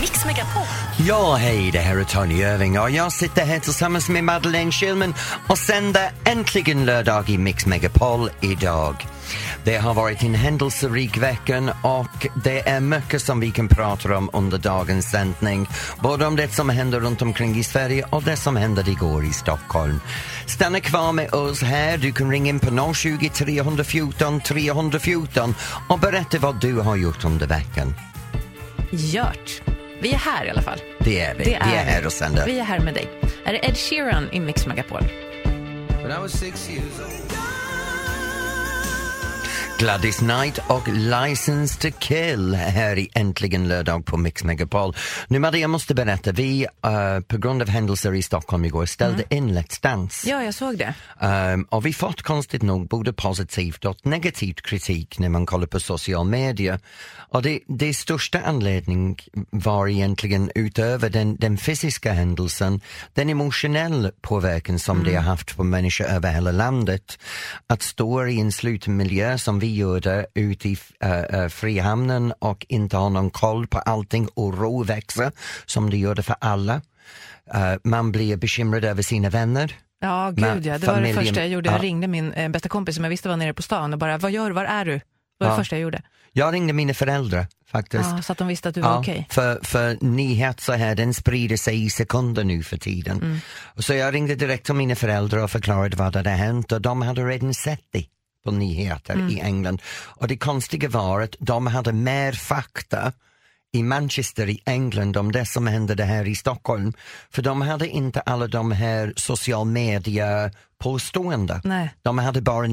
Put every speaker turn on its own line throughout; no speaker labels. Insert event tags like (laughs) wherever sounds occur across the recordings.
Mix Megapol.
Ja, hej, det här är Tony Irving och jag sitter här tillsammans med Madeleine Schillman och sänder äntligen lördag i Mix Megapol idag. Det har varit en händelserik veckan och det är mycket som vi kan prata om under dagens sändning. Både om det som händer runt omkring i Sverige och det som hände igår i Stockholm. Stanna kvar med oss här. Du kan ringa in på 020 314 314 och berätta vad du har gjort under veckan.
Gjort. Vi är här i alla fall.
Det är vi.
Det
vi är
vi.
här och sänder.
Vi är här med dig. Är det Ed Sheeran i Mix Megapol?
Gladys Knight och License to Kill här i Äntligen lördag på Mix Megapol. Nu Madde, jag måste berätta, vi eh, på grund av händelser i Stockholm igår ställde in Let's Dance.
Ja, jag såg det.
Ehm, och vi fått konstigt nog både positivt och negativt kritik när man kollar på social media. Och det, det största anledningen var egentligen utöver den, den fysiska händelsen, den emotionella påverkan som det har haft på människor över hela landet. Att stå i en sluten miljö som vi gjorde ute i eh, eh, Frihamnen och inte ha någon koll på allting och råväxa som det gjorde för alla. Eh, man blir bekymrad över sina vänner.
Ja, gud
Men
ja. Det var
familjen-
det första jag gjorde. Jag
Ja.
ringde min eh, bästa kompis som jag visste var nere på stan och bara, vad gör du? Var är du? Det var det
Ja.
första jag gjorde.
Jag ringde mina föräldrar faktiskt.
Ja, så att de visste att du Ah, var
Ja,
okej.
för, för nyhet så här, den sprider sig i sekunder nu för tiden.
Mm.
Så jag ringde direkt till mina föräldrar och förklarade vad hade hänt och de hade redan sett det på nyheter i
Mm.
England. Och det konstiga var att de hade mer fakta i Manchester i England om det som hände det här i Stockholm. För de hade inte alla de här social media påståenden.
Nej.
De hade bara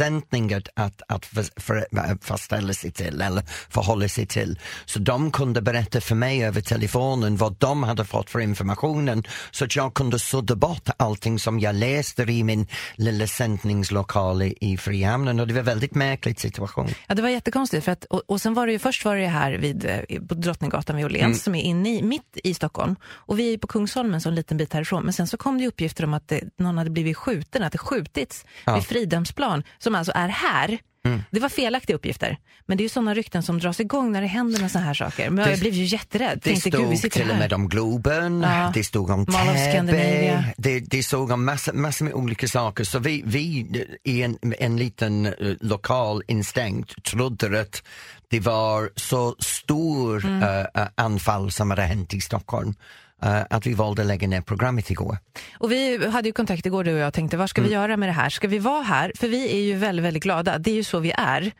nyhetssändningar att, att för, för, fastställa sig till eller förhålla sig till. Så de kunde berätta för mig över telefonen vad de hade fått för informationen så att jag kunde sudda bort allting som jag läste i min lilla sändningslokal i, i Frihamnen och det var en väldigt märklig situation.
Ja, det var jättekonstigt. För att, och, och sen var det ju, först var det ju här vid, eh, på Drottninggatan vid
Mm.
Åhléns som är inne i, mitt i Stockholm. Och vi är ju på Kungsholmen så en liten bit härifrån. Men sen så kom det ju uppgifter om att det, någon hade blivit skjuten, att det skjutits vid Fridhemsplan, som alltså är här.
Mm.
Det var felaktiga uppgifter. Men det är ju sådana rykten som dras igång när det händer med sådana här saker. Men jag
Det-
blev ju jätterädd.
Det
Tänkte, gud, vi
stod
sitter
till och
här.
med om Globen,
Ja.
det stod om
Mall of Scandinavia.
Täby, det, det stod om massor massa med olika saker. Så vi, vi i en, en liten eh, lokal instängt trodde att det var så stor
Mm.
eh, eh, anfall som hade hänt i Stockholm eh, att vi valde att lägga ner programmet igår.
Och vi hade ju kontakt igår du och jag och tänkte, vad ska
Mm.
vi göra med det här? Ska vi vara här? För vi är ju väldigt, väldigt glada. Det är ju så vi är.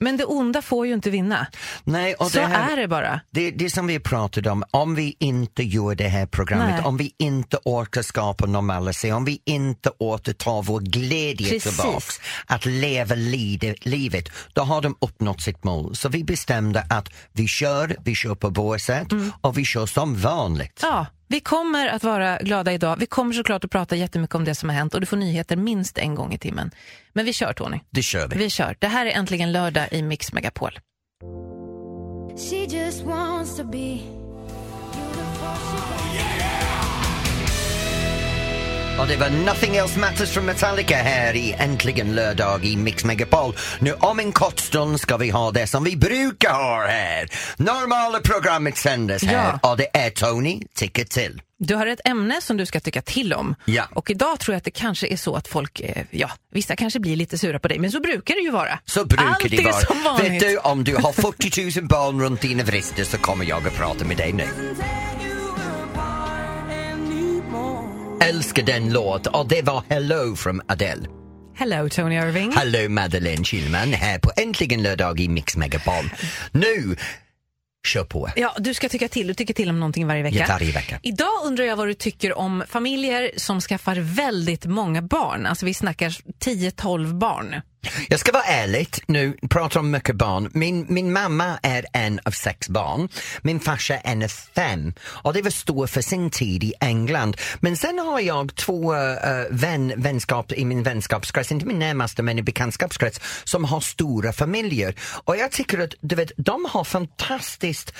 Men det onda får ju inte vinna.
Nej, och
så
Mm. det här,
är det bara.
Det, det som vi pratade om, om vi inte gör det här programmet,
Nej.
om vi inte orkar skapa normalitet, om vi inte återtar vår glädje
Precis.
tillbaks att leva lide, livet, då har de uppnått sitt mål. Så vi bestämde att vi kör, vi kör på vårt sätt och vi kör som vanligt.
Mm. Ja, vi kommer att vara glada idag. Vi kommer såklart att prata jättemycket om det som har hänt och du får nyheter minst en gång i timmen. Men vi kör Tony.
Det kör vi.
Vi kör. Det här är äntligen lördag i Mix Megapol.
She just wants to be beautiful.
Och det var Nothing Else Matters från Metallica här i Äntligen lördag i Mix Megapol. Nu om en kort stund ska vi ha det som vi brukar ha här. Normala programmet sändes här och det är Tony tycker till.
Du har ett ämne som du ska tycka till om.
Ja.
Och idag tror jag att det kanske är så att folk, eh, ja, vissa kanske blir lite sura på dig, men så brukar det ju vara.
Så brukar
Allt
det
är som
vara.
vanligt.
Vet du, om du har 40 000 barn runt dina vrister så kommer jag att prata med dig nu. Älskar den låt och det var Hello från Adele.
Hello Tony Irving.
Hallå Madeleine Kilman här på Äntligen lördag i Mix Megapol. Nu, kör på.
Ja, du ska tycka till. Du tycker till om någonting varje vecka.
Ja, varje vecka.
Idag undrar jag vad du tycker om familjer som skaffar väldigt många barn. Alltså vi snackar 10-12 barn.
Jag ska vara ärlig nu, pratar om mycket barn. Min, min mamma är en av sex barn, min farsa är en av fem. Och det var stor för sin tid i England. Men sen har jag två eh, vän, vänskap i min vänskapskrets, inte min närmaste men i bekantskapskrets, som har stora familjer. Och jag tycker att du vet, de har fantastiskt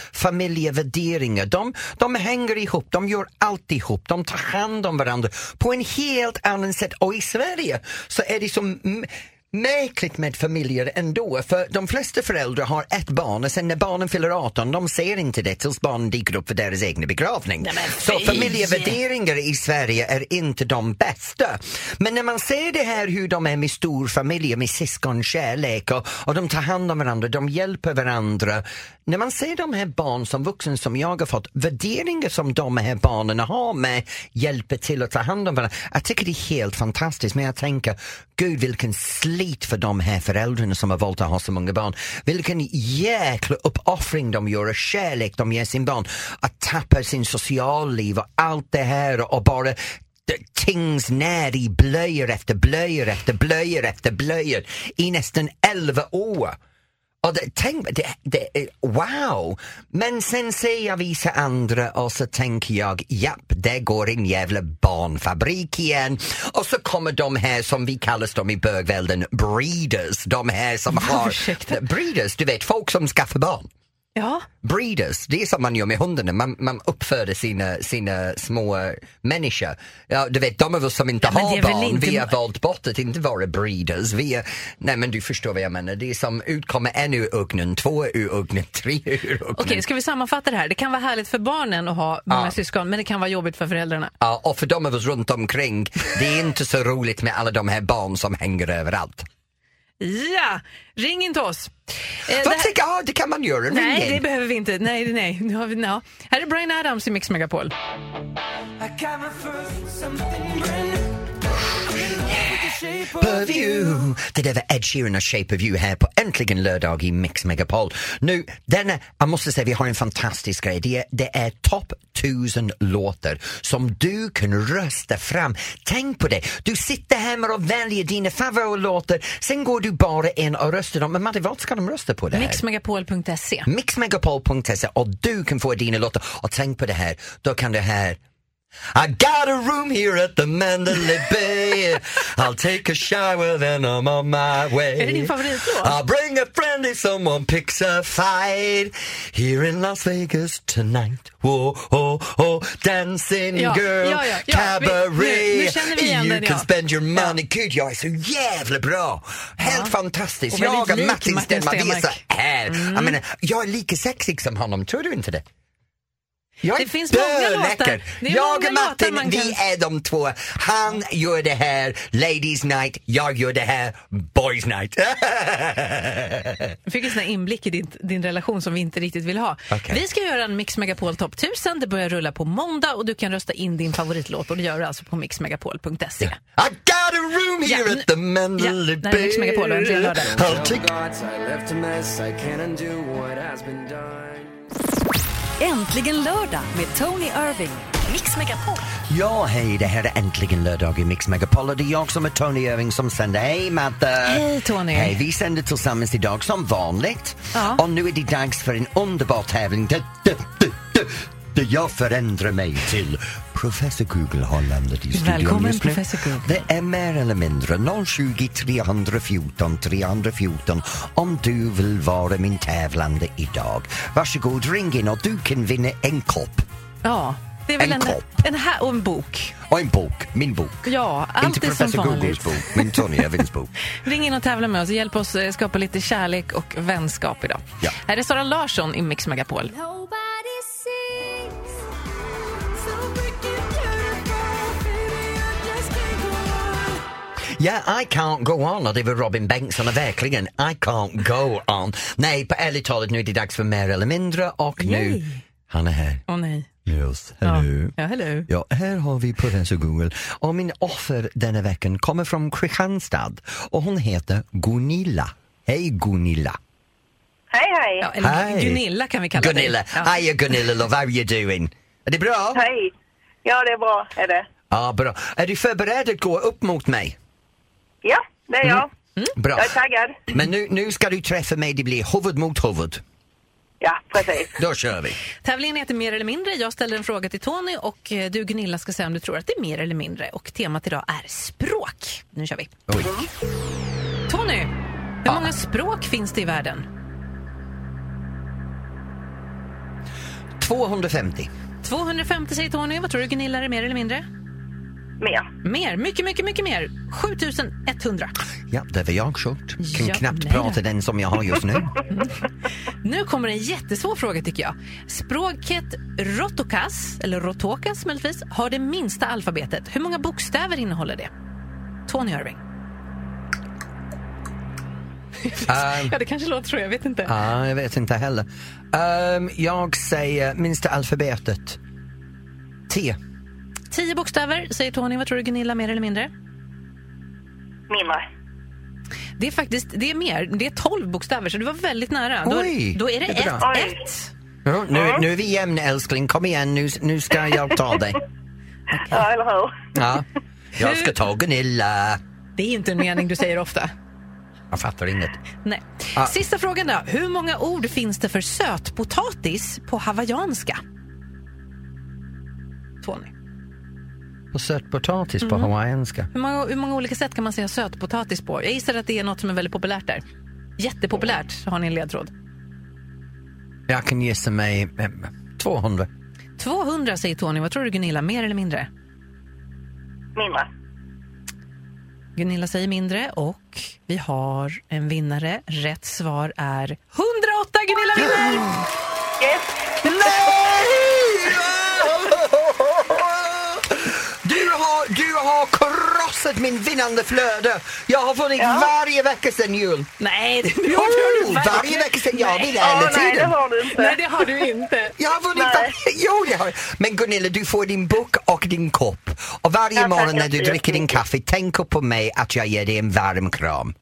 familjevärderingar. De, de hänger ihop, de gör allt ihop, de tar hand om varandra på en helt annan sätt. Och i Sverige så är det som mm, märkligt med familjer ändå, för de flesta föräldrar har ett barn och sen när barnen fyller 18, de ser inte det tills barnen dyker upp för deras egna begravning. så familjevärderingar i Sverige är inte de bästa. Men när man ser det här hur de är med storfamiljer, med syskonkärlek och, och de tar hand om varandra, de hjälper varandra. När man ser de här barn som vuxna som jag har fått, värderingar som de här barnen har med hjälper till att ta hand om varandra. Jag tycker det är helt fantastiskt, men jag tänker, gud vilken slit för de här föräldrarna som har valt att ha så många barn. Vilken jäkla uppoffring de gör och kärlek de ger sin barn. Att tappa sin socialliv och allt det här och bara tings ner i blöjor efter blöjor efter blöjor efter blöjor i nästan 11 år. Och det, tänk, det, det, wow! Men sen ser jag vissa andra och så tänker jag, japp, där går en jävla barnfabrik igen. Och så kommer de här som vi kallas dem i bögvälden, breeders. De här som har...
ursäkta.
Breeders, du vet, folk som skaffar barn.
Ja,
Breeders, det är som man gör med hundarna, man, man uppföder sina, sina små eh, människor. Ja, du vet, de av oss som inte
men det
har
är väl
barn,
inte-
vi har valt bort att inte vara breeders. Vi är, nej men du förstår vad jag menar, det är som utkommer en ur ugnen, två ur ugnen, (laughs) tre ur ugnen.
Okej, ska vi sammanfatta det här? Det kan vara härligt för barnen att ha många syskon, men det kan vara jobbigt för föräldrarna.
Ja, och för de av oss runt omkring, det är inte så roligt med alla de här barn som hänger överallt.
Ja, ring inte oss. Eh, det
Vad
här-
tycker jag? Ja, det kan man göra,
nej,
ring
det
in.
behöver vi inte. Nej, nej. Nu har vi, no. Här är Brian Adams i Mix Megapol.
Shape of you. Det där var Ed Sheeran och Shape of you här på Äntligen lördag i Mix Megapol. Nu, denna, jag måste säga vi har en fantastisk grej. Det är, det är topp tusen låtar som du kan rösta fram. Tänk på det, du sitter hemma och väljer dina favoritlåtar, sen går du bara in och röstar dem. Men Madde, vad ska de rösta på det här?
Mixmegapol.se.
mixmegapol.se och du kan få dina låtar. Och tänk på det här, då kan det här I got a room here at the Mandalay Bay I'll take a shower then I'm on my way
Är det din favoritlåt?
I'll bring a friend if someone picks a fight Here in Las Vegas tonight Whoa, oh, oh, Dancing
Ja,
girl,
ja, ja, ja.
cabaret
Vi- nu- nu känner vi igen
You
den,
can
ja.
spend your money Gud, jag är så jävla bra! Helt fantastiskt!
Och
Jag
väldigt
och
lik
Martin
Martin
Stenmarck, vi är så
Stenmarck. Mm.
här. Jag, menar, jag är lika sexig som honom, tror du inte det? Jag är
Det finns många
döläcker.
låtar. Det är
Jag
många
och Martin,
låtar man
vi
kan-
är de två. Han gör det här, ladies night. Jag gör det här, boys night. (laughs)
Jag fick en sån här inblick i din, din relation som vi inte riktigt vill ha.
Okej.
Vi ska göra en Mix Megapol topp 1000. Det börjar rulla på måndag och du kan rösta in din favoritlåt och det gör du alltså på mixmegapol.se.
I got a room here
Ja,
at the
nu-
Mandalay
ja, det här är Mix Megapol och Äntligen lördag.
I'll take
Äntligen lördag med Tony Irving. Mix Megapol.
Ja, hej, det här är äntligen lördag i Mix Megapol och det är jag som är Tony Irving som sänder. Hej Madde!
Hej, Tony.
Hej, vi sänder tillsammans idag som vanligt.
Ja.
Och nu är det dags för en underbar tävling där, där, där, där, där jag förändrar mig till Professor Google har landat i studion
Välkommen,
just nu.
Professor Google.
Det är mer eller mindre 020 314 314 om du vill vara min tävlande idag. Varsågod, ring in och du kan vinna en kopp
Ja, det är väl
En
en,
kopp.
en här och en bok.
och en bok, min bok.
Ja, allt
Inte
är som
professor
vanligt.
Googles bok, men Tony Evans (laughs) bok.
Ring in och tävla med oss. Hjälp oss eh, skapa lite kärlek och vänskap idag.
Ja.
Här är Sara Larsson i Mix Megapol.
Nobody sees. So freaking beautiful, baby, I just can't go on.
Yeah, I can't go on. Och det var Robin Bengtsson och verkligen, I can't go on. Nej, på ärligt talat, nu är det dags för mer eller mindre och nu...
Yay.
Han är här.
Åh nej.
Yes,
Ja,
hello.
ja hello.
Ja, här har vi professor Google och min offer denna veckan kommer från Kristianstad och hon heter Gunilla. Hej Gunilla!
Hej, hej.
Ja, eller
Hej.
Gunilla kan vi kalla
Gunilla!
dig. Ja.
Hiya Gunilla love, how you doing? Är det bra?
Hej. Ja, det är bra. Är det?
Ja, bra. Är du förberedd att gå upp mot mig? Mm.
Ja, det är
Mm-hmm.
jag.
Bra.
Jag är taggad.
Men nu, nu ska du träffa mig, det blir huvud mot huvud.
Ja, precis.
Då kör vi.
Tävlingen heter Mer eller mindre. Jag ställer en fråga till Tony och eh, du Gunilla ska säga om du tror att det är mer eller mindre. Och temat idag är språk. Nu kör vi.
Oj.
Mm. Tony, hur många språk finns det i världen?
250.
250 säger Tony. Vad tror du Gunilla är mer eller mindre?
mer.
Mer, mycket, mycket, mycket mer. 7100.
Ja, det var jag short. Kan
Ja,
knappt
nej då.
prata den som jag har just
(laughs)
nu.
Nu kommer en jättesvår fråga tycker jag. Språket rotokas, eller rotokas möjligtvis, har det minsta alfabetet. Hur många bokstäver innehåller det? Tony Irving.
Ehm,
Ja, det kanske låter så, jag vet inte.
Ja, Ah, jag vet inte heller. Ehm, jag säger minsta alfabetet. T.
Tio bokstäver, säger Tony. Vad tror du Gunilla, mer eller mindre?
Mindre.
Det är faktiskt, det är mer. Det är tolv bokstäver, så du var väldigt nära. Då,
Oj,
då är det
det är bra.
ett,
Oj.
ett.
Ja, nu, nu är vi jämna älskling, kom igen nu, nu ska jag ta dig.
Ja, eller hur?
Ja. Jag ska ta Gunilla.
Det är inte en mening du säger ofta.
Jag fattar inget.
Nej.
Ah.
Sista frågan då. Hur många ord finns det för sötpotatis på hawaiianska? Tony.
Och sötpotatis
Mm.
på hawaiianska.
Hur många, hur många olika sätt kan man säga sötpotatis på? Jag gissar att det är något som är väldigt populärt där. Jättepopulärt, har ni en ledtråd.
Jag kan gissa mig eh, 200.
200 säger Tony. Vad tror du Gunilla, mer eller mindre?
Mindre.
Gunilla säger mindre och vi har en vinnare. Rätt svar är 108. Gunilla
(laughs)
vinner!
Yes.
Du har, du har krossat min vinnande flöde. Jag har vunnit varje vecka sedan jul.
Nej, det
Jo,
har du verkligen.
varje vecka sedan jag vill
Åh
hela
nej, det
tiden.
har du
Nej,
inte.
det har du inte.
Jag har vunnit
Nej.
varje... Jo, det har jag. Men Gunilla, du får din bok och din kopp. Och varje
Ja, tack,
morgon när
jag
du
ser
dricker din
jättemycket.
kaffe, tänk upp på mig att jag ger dig en varm kram.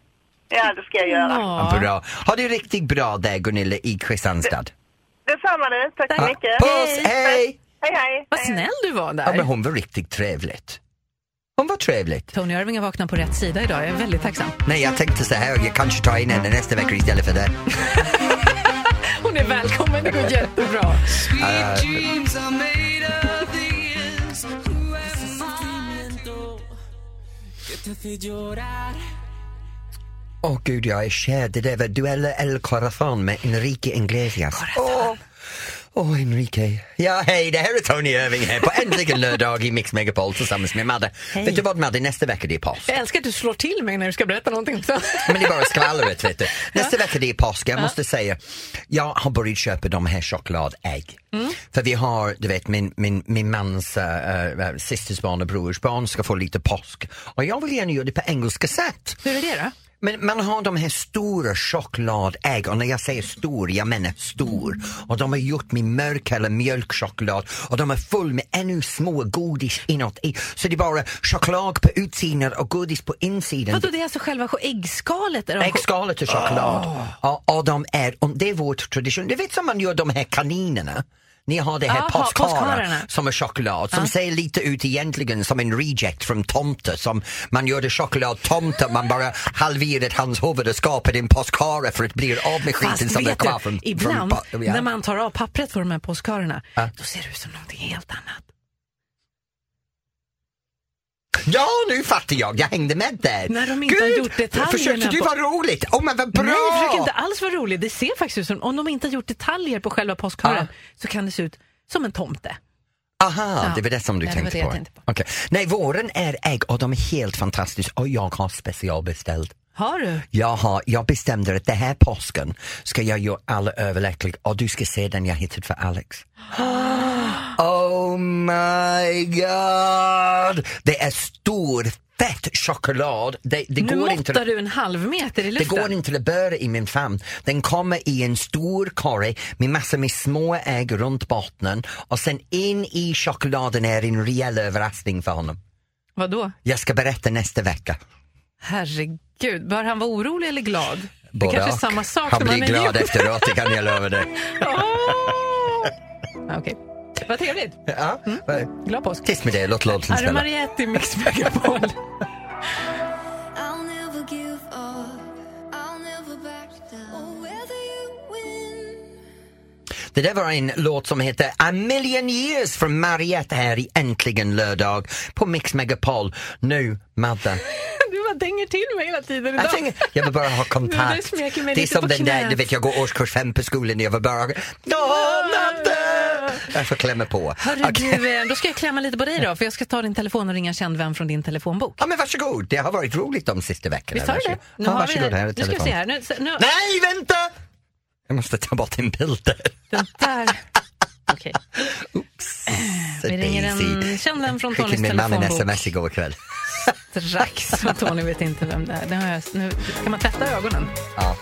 Ja, det ska jag göra.
Ja.
Bra. Har du riktigt bra där Gunilla i Kristianstad?
Detsamma du. Tack så
Ja.
mycket.
Puss, hej!
Hej, hej.
Vad
Hej.
snäll du var
Ja, men
där.
hon var riktigt trevligt. Hon var trevligt.
Tony Irving har vaknat på rätt sida idag. Jag är väldigt tacksam.
Nej, jag tänkte så här, jag kanske tar in henne nästa vecka istället för det.
Hon är välkommen. Det går jättebra.
Åh gud, jag är kär. Det där var Duella El Corazon med Enrique Iglesias. Åh, åh, Enrique. Ja, hej, det här är Tony Irving här på Äntligen lördag i Mix Megapol tillsammans med Madde. Vet du vad Madde, nästa vecka det är påsk.
Jag älskar att du slår till mig när du ska berätta någonting också.
Men det är bara skvallret vet du. Nästa vecka det är påsk, jag måste säga, jag har börjat köpa de här chokladägg. För vi har, du vet min, min, min mans äh, systers barn och brors barn ska få lite påsk. Och jag vill gärna göra det på engelska sätt.
Hur är det då?
Men man har de här stora chokladägg och när jag säger stor, jag menar stor. Och de har gjort med mörk eller mjölkchoklad och de är full med ännu små godis inåt i. Så det är bara choklad på utsidan och godis på insidan.
Vadå, det är alltså själva äggskalet? Är de-
Äggskalet och choklad.
Ah.
Och, och de är, och det är vår tradition. Du vet som man gör de här kaninerna. Ni har det här
Aha,
påskharar
påskhararna.
som är choklad som ser lite ut egentligen som en reject från tomte som man gör det chokladtomte man bara halverat hans huvud och skapar en påskhare för att bli av med skiten
Fast
som är
vet
kvar
du,
från,
ibland
från ja.
när man tar av pappret på de här påskarna,
Ja.
då ser det ut som någonting helt annat.
Ja, nu fattar jag. Jag hängde med där.
När de inte har gjort detaljerna
Försökte du
på-
vara roligt? Åh, men vad bra!
Nej, jag försöker inte alls vara rolig. Det ser faktiskt ut som, om de inte har gjort detaljer på själva påskharen
Ja.
så kan det se ut som en tomte.
Aha,
Ja.
det var det som du
Ja, det var
tänkte,
det jag
på.
tänkte
Okej. Nej, våren är ägg och de är helt fantastiska och jag har specialbeställt.
Har du?
Jag, har, jag bestämde att det här påsken ska jag göra alla överlyckliga och du ska se den jag hittat för Alex. (gasps) Oh my god! Det är stor fett choklad. Det, det
Nu
går inte
måttar du en halv meter i
det
luften.
går inte att bära i min famn. Den kommer i en stor korg med massor med små ägg runt botten och sen in i chokladen är en rejäl överraskning för honom.
Vadå?
Jag ska berätta nästa vecka.
Herregud, bör han vara orolig eller glad? Det
Både
kanske är
och.
samma sak.
Han
när man
blir
är ny.
glad
(laughs)
efteråt, det kan jag lova dig.
Ah, Okej. Vad trevligt.
Ja.
Mm. Glad påsk.
Tyst med det, låt låten
Arre
spela. (laughs)
Marietti, Mix Megapol.
I'll never give up. I'll never back down. Oh, whether you win.
Det där var en låt som heter A Million Years från Mariette här i Äntligen lördag på Mix Megapol. Nu, Madde.
du bara dänger till mig hela tiden idag.
Jag, tänker, jag vill bara ha
Nu, nu
kontakt.
smeker jag mig
Det är
lite
som
på
den där,
knät.
du vet jag går årskurs fem på skolan och jag vill bara... Donate! Jag får klämma på.
Hörru
Okej.
du, eh, då ska jag klämma lite på dig då, för jag ska ta din telefon och ringa en känd vän från din telefonbok.
Ja, men varsågod. Det har varit roligt de sista veckorna.
Visst har du det?
Varsågod. Ja,
har vi
varsågod.
det.
Här är
nu ska vi
telefonen.
se här. Nu, nu,
Nej, vänta! Jag måste ta bort en bild där.
Den
(laughs)
där. Okej, vi ringer
Daisy.
en känd vän från
Skickade
Tonys
min man en
telefonbok
sms igår kväll.
strax. (laughs) Och Tony vet inte vem det är. Det har jag, nu, kan man tvätta ögonen?
Ja.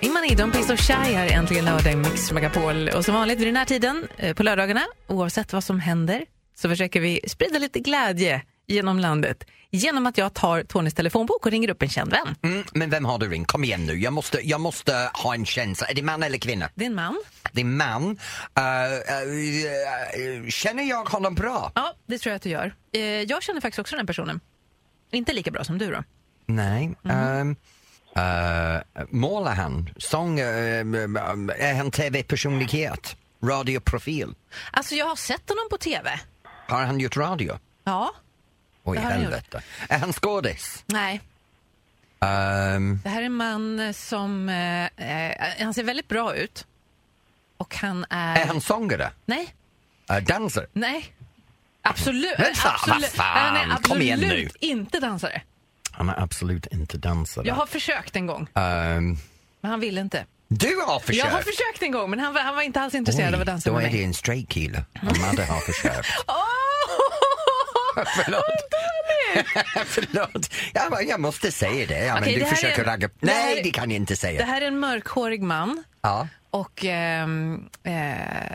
Imani, de Pizzo Shy här äntligen lördag i Mix Megapol. Och som vanligt vid den här tiden eh, på lördagarna, oavsett vad som händer, så försöker vi sprida lite glädje genom landet genom att jag tar Tonys telefonbok och ringer upp en känd vän.
Mm, men vem har du ringt? Kom igen nu, jag måste, jag måste ha en känsla. Är det man eller kvinna?
Det är en man.
Det är man. Eh, eh, eh, känner jag honom bra?
Ja, det tror jag att du gör. Eh, Jag känner faktiskt också den här personen. Inte lika bra som du då.
Nej.
Mm-hmm.
ehm, eh, målar han? Sång, eh, är han tv-personlighet? Radioprofil?
Alltså jag har sett honom på TV.
Har han gjort radio?
Ja.
Oj,
Det har han gjort.
helvete. Är han skådis?
Nej.
Ehm,
Det här är en man eh, som, eh, eh, han ser väldigt bra ut. Och han är...
är han sångare?
Nej,
Uh, dansare?
nej. Absolut,
Men fan, vad
absolut,
fan,
han är absolut
kom igen nu.
inte dansare.
Han är absolut inte dansare.
Jag har försökt en gång,
Ehm,
men han ville inte.
du har försökt!
Jag har försökt en gång, men han, var- han var inte alls
Oj,
intresserad av att dansa
då
med
är det
mig.
en straight kille om Madde har
(laughs)
försökt. (laughs)
Åh!
Förlåt. Förlåt. Ja, men jag måste säga det. Ja,
Okej,
men
det
du
här
försöker
är-
ragga...
det här-
Nej, det kan jag inte säga.
Det här är en mörkhårig man.
Ja.
Och ehm, eh,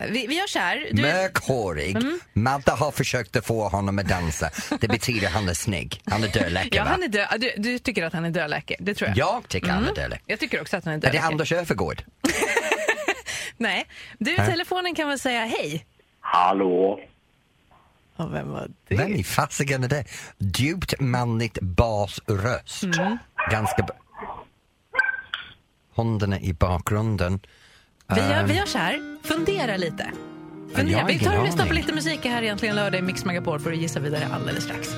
vi, vi gör så här. Du, Mm.
Mörkhårig. Madde har försökt att få honom att dansa. Det betyder han är snygg. Han är dödläcker,
ja,
va?
han är Mm. dö- du, du tycker att han är dödläcker, det tror jag.
Jag tycker han är dödläcker.
Jag tycker också att han är
Är det
dödläcker.
Anders Öfvergård?
Nej, du i telefonen kan väl säga hej?
Hallå?
Ja, vem var det?
Vem i fasiken är det? Djupt manligt basröst.
Mm.
Ganska... b- Hundarna i bakgrunden.
Vi gör, vi gör så här, fundera lite.
Äh. jag
Fundera.
har
Vi
ingen
tar och lyssnar på
aning.
lite musik här egentligen lördag i Mix Megapol för att gissa vidare alldeles strax.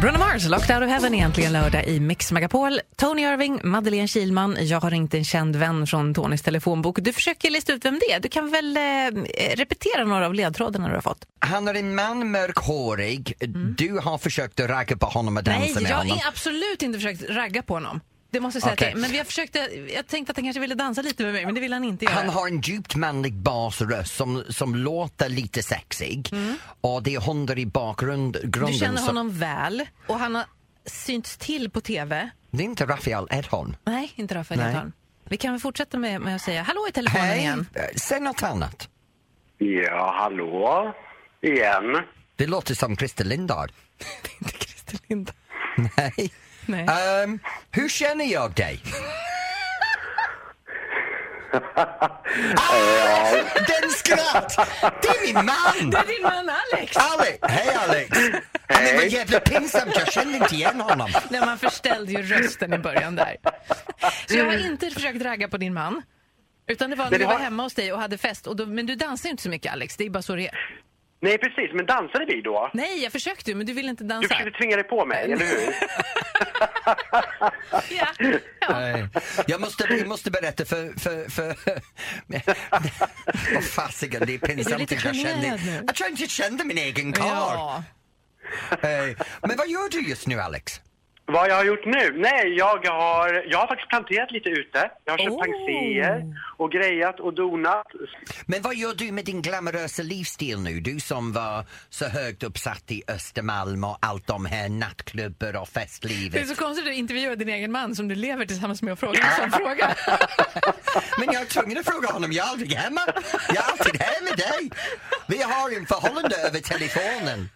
Bruno Mars, Locked Out of Heaven egentligen lördag i Mix Megapol. Tony Irving, Madeleine Kilman, jag har ringt en känd vän från Tonys telefonbok. Du försöker lista ut vem det är. Du kan väl eh, repetera några av ledtrådarna du har fått?
Han är en man, mörkhårig. Du har försökt att ragga på honom och
Mm. Nej,
dansa med
jag
honom.
har absolut inte försökt ragga på honom. Det måste jag säga
Okej.
till. Men vi har försökt, jag tänkte att han kanske ville dansa lite med mig, men det vill han inte göra.
Han har en djupt manlig basröst som, som låter lite sexig. Och det är hundar i bakgrunden.
Mm. Du känner
som-
honom väl och han har synts till på tv.
Det är inte Rafael Edholm.
Nej, inte Rafael
Nej.
Lindholm. Vi kan väl fortsätta med, med att säga hallå i telefonen igen.
Eh, Säg något annat.
Ja, hallå? Igen?
Det låter som Christer Lindard.
Det är inte Christer Lind.
Nej.
Nej.
Ehm, hur känner jag
(laughs)
dig? ah, den skratt! Det är min man!
(laughs)
Det är din man Alex!
Alex! Hej Alex! Hey. Men vad jävla pinsamt, jag kände inte igen honom.
Nej, man förställde ju rösten i början där. Så jag har inte försökt ragga på din man. Utan det var när
Men
vi
det
var
har-
hemma hos dig och hade fest. Och då, men du dansar ju inte så mycket Alex, det är bara så det är.
Nej, precis. Men dansade vi då?
Nej, jag försökte ju men du ville inte
Du
dansa.
försökte tvinga dig på mig, eller hur?
Ja, ja.
Nej. Jag måste, jag måste berätta för... för, för Vad fasiken, det är
Är du
pinsamt
lite
att jag
generad nu?
kände... Jag tror inte jag kände min egen karl.
ja.
Eh, Men vad gör du just nu Alex?
Vad jag har gjort nu? Nej, jag har, jag har faktiskt planterat lite ute. Jag har köpt
Oh.
penséer och grejat och donat.
Men vad gör du med din glamorösa livsstil nu? Du som var så högt uppsatt i Östermalm och allt de här nattklubbar och
Det är
festlivet.
så konstigt att du intervjuar din egen man som du lever tillsammans med och frågar en sån fråga.
Men jag är tvungen att fråga honom, jag är aldrig hemma. Jag är alltid här med dig. Vi har en förhållande över telefonen.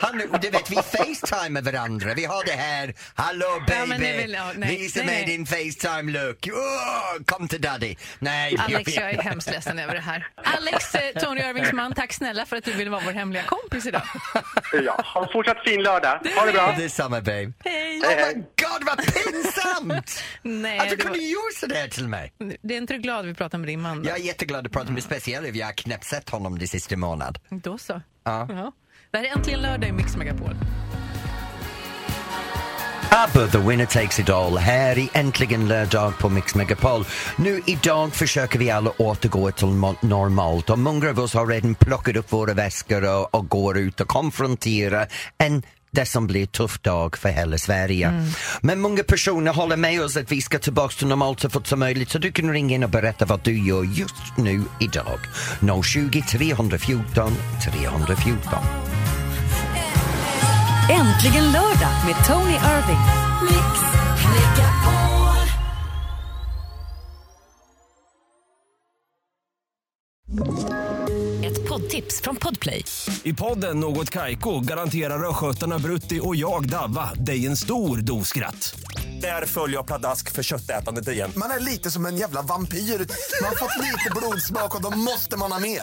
Han, och du vet, vi facetimar varandra. Vi har det här, hallå
Ja, men det
baby,
är väl- ja, nej,
visa
nej,
mig
nej.
din facetime-look. Åh, kom till daddy. Nej,
Alex, jag är hemskt ledsen över det här. Alex, eh, Tony Irvings man, tack snälla för att du ville vara vår hemliga kompis idag.
Ja, ha en fortsatt fin lördag. Ha det bra.
Detsamma babe.
Hej!
Oh my god vad pinsamt!
Nej,
att du
det var-
kunde göra sådär till mig.
Det är inte du glad vi pratar med din man? då?
Jag är jätteglad att prata med speciellt om jag har knappt sett honom de sista månaderna.
Då så.
Ja.
Ja. Det här är äntligen lördag i Mix Megapol.
ABBA, The Winner Takes It All, här i Äntligen lördag på Mix Megapol. Nu idag försöker vi alla återgå till mo- normalt och många av oss har redan plockat upp våra väskor och, och går ut och konfronterar en det som blir tuff dag för hela Sverige. Men många personer håller med oss att vi ska tillbaka till normalt så fort som möjligt så du kan ringa in och berätta vad du gör just nu idag. 020 314 314.
Äntligen lördag med Tony Irving. Ett poddtips från Podplay.
I podden Något Kaiko garanterar östgötarna Brutti och jag, Davva, dig en stor dos skratt. Där följer jag pladask för köttätandet igen.
Man är lite som en jävla vampyr. Man har fått lite blodsmak och då måste man ha mer.